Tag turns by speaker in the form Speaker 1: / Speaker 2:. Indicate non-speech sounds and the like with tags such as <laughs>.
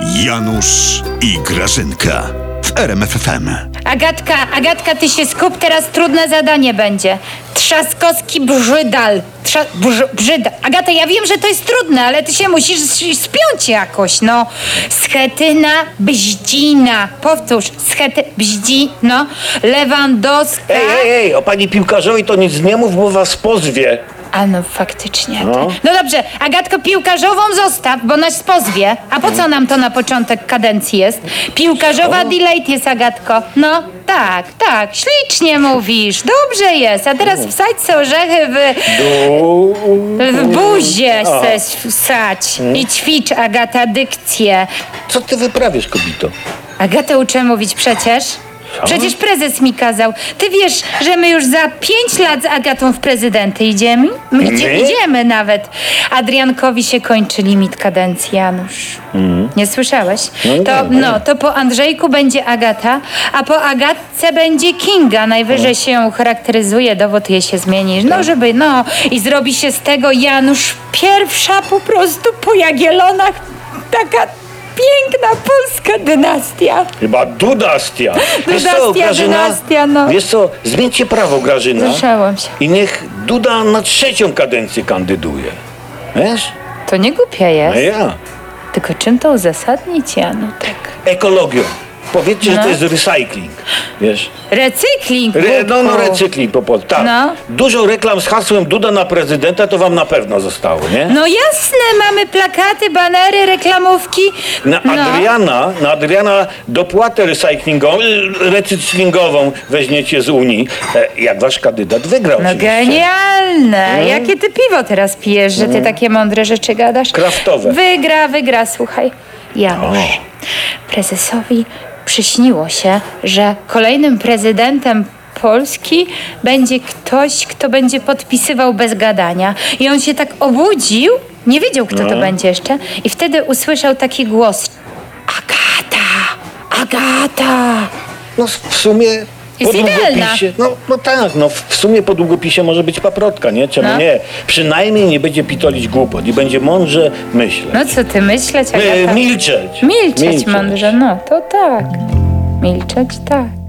Speaker 1: Janusz i Grażynka w RMFFM.
Speaker 2: Agatka, Agatka, ty się skup, teraz trudne zadanie będzie. Trzaskowski brzydal. Trza, brz, brzydal. Agata, ja wiem, że to jest trudne, ale ty się musisz s- spiąć jakoś, no. Schetyna, bździna. Powtórz, schety, bździ, no. Lewandowska.
Speaker 3: Ej, ej, ej, o pani piłkarzowi to nic nie mów, bo was pozwie.
Speaker 2: A no, faktycznie.
Speaker 3: No.
Speaker 2: No. no dobrze, Agatko, piłkarzową zostaw, bo nas pozwie. A po co nam to na początek kadencji jest? Piłkarzowa delayed jest, Agatko. No, tak, tak, ślicznie mówisz, dobrze jest. A teraz wsadź se orzechy w, w buzię se wsać i ćwicz, Agata, dykcję.
Speaker 3: Co ty wyprawiasz, kobito?
Speaker 2: Agatę uczę mówić przecież. Przecież prezes mi kazał. Ty wiesz, że my już za pięć lat z Agatą w prezydenty idziemy? My idzie,
Speaker 3: My?
Speaker 2: idziemy nawet. Adriankowi się kończy limit kadencji, Janusz.
Speaker 3: Mhm.
Speaker 2: Nie słyszałeś?
Speaker 3: nie,
Speaker 2: to,
Speaker 3: nie.
Speaker 2: no, to po Andrzejku będzie Agata, a po Agatce będzie Kinga. Najwyżej
Speaker 3: Mhm.
Speaker 2: się ją charakteryzuje, dowód jej się zmieni.
Speaker 3: Tak.
Speaker 2: No, żeby, no. I zrobi się z tego Janusz pierwsza po prostu po Jagielonach taka piękna polska dynastia.
Speaker 3: Chyba
Speaker 2: <laughs>
Speaker 3: dudastia. Wiesz co,
Speaker 2: Dudastia,
Speaker 3: Grażyna?
Speaker 2: dudastia, no.
Speaker 3: Wiesz co, zmieńcie prawo, Grażyna.
Speaker 2: Słyszałam się.
Speaker 3: I niech Duda na trzecią kadencję kandyduje. Wiesz?
Speaker 2: To nie głupia
Speaker 3: A
Speaker 2: jest.
Speaker 3: ja.
Speaker 2: Tylko czym to uzasadnić, Tak. Janutek?
Speaker 3: Ekologią. Powiedzcie, że
Speaker 2: No.
Speaker 3: to jest recycling. Wiesz?
Speaker 2: Recykling!
Speaker 3: Re,
Speaker 2: głupku.
Speaker 3: no, no, recykling po polsku. Tak.
Speaker 2: No.
Speaker 3: Dużo reklam z hasłem Duda na prezydenta to wam na pewno zostało, nie?
Speaker 2: No jasne, mamy plakaty, banery, reklamówki. No.
Speaker 3: Na No, Adriana, na Adriana dopłatę recyclingową, recyklingową weźmiecie z Unii, e, jak wasz kandydat wygrał.
Speaker 2: No
Speaker 3: oczywiście. Mhm.
Speaker 2: genialne! Jakie ty piwo teraz pijesz, że ty takie mądre rzeczy gadasz?
Speaker 3: Kraftowe.
Speaker 2: Wygra, wygra, słuchaj. Janusz, prezesowi przyśniło się, że kolejnym prezydentem Polski będzie ktoś, kto będzie podpisywał bez gadania. I on się tak obudził, nie wiedział, kto
Speaker 3: No.
Speaker 2: to będzie jeszcze, i wtedy usłyszał taki głos. Agata! Agata!
Speaker 3: No w sumie
Speaker 2: Jest
Speaker 3: po
Speaker 2: idealna.
Speaker 3: długopisie, no, no tak, no w w sumie po długopisie może być paprotka, nie? Czemu
Speaker 2: No.
Speaker 3: nie? Przynajmniej nie będzie pitolić głupot i będzie mądrze myśleć.
Speaker 2: No tak. co ty myśleć,
Speaker 3: E,
Speaker 2: Agata?
Speaker 3: milczeć.
Speaker 2: Milczeć mądrze, no to tak. Milczeć tak.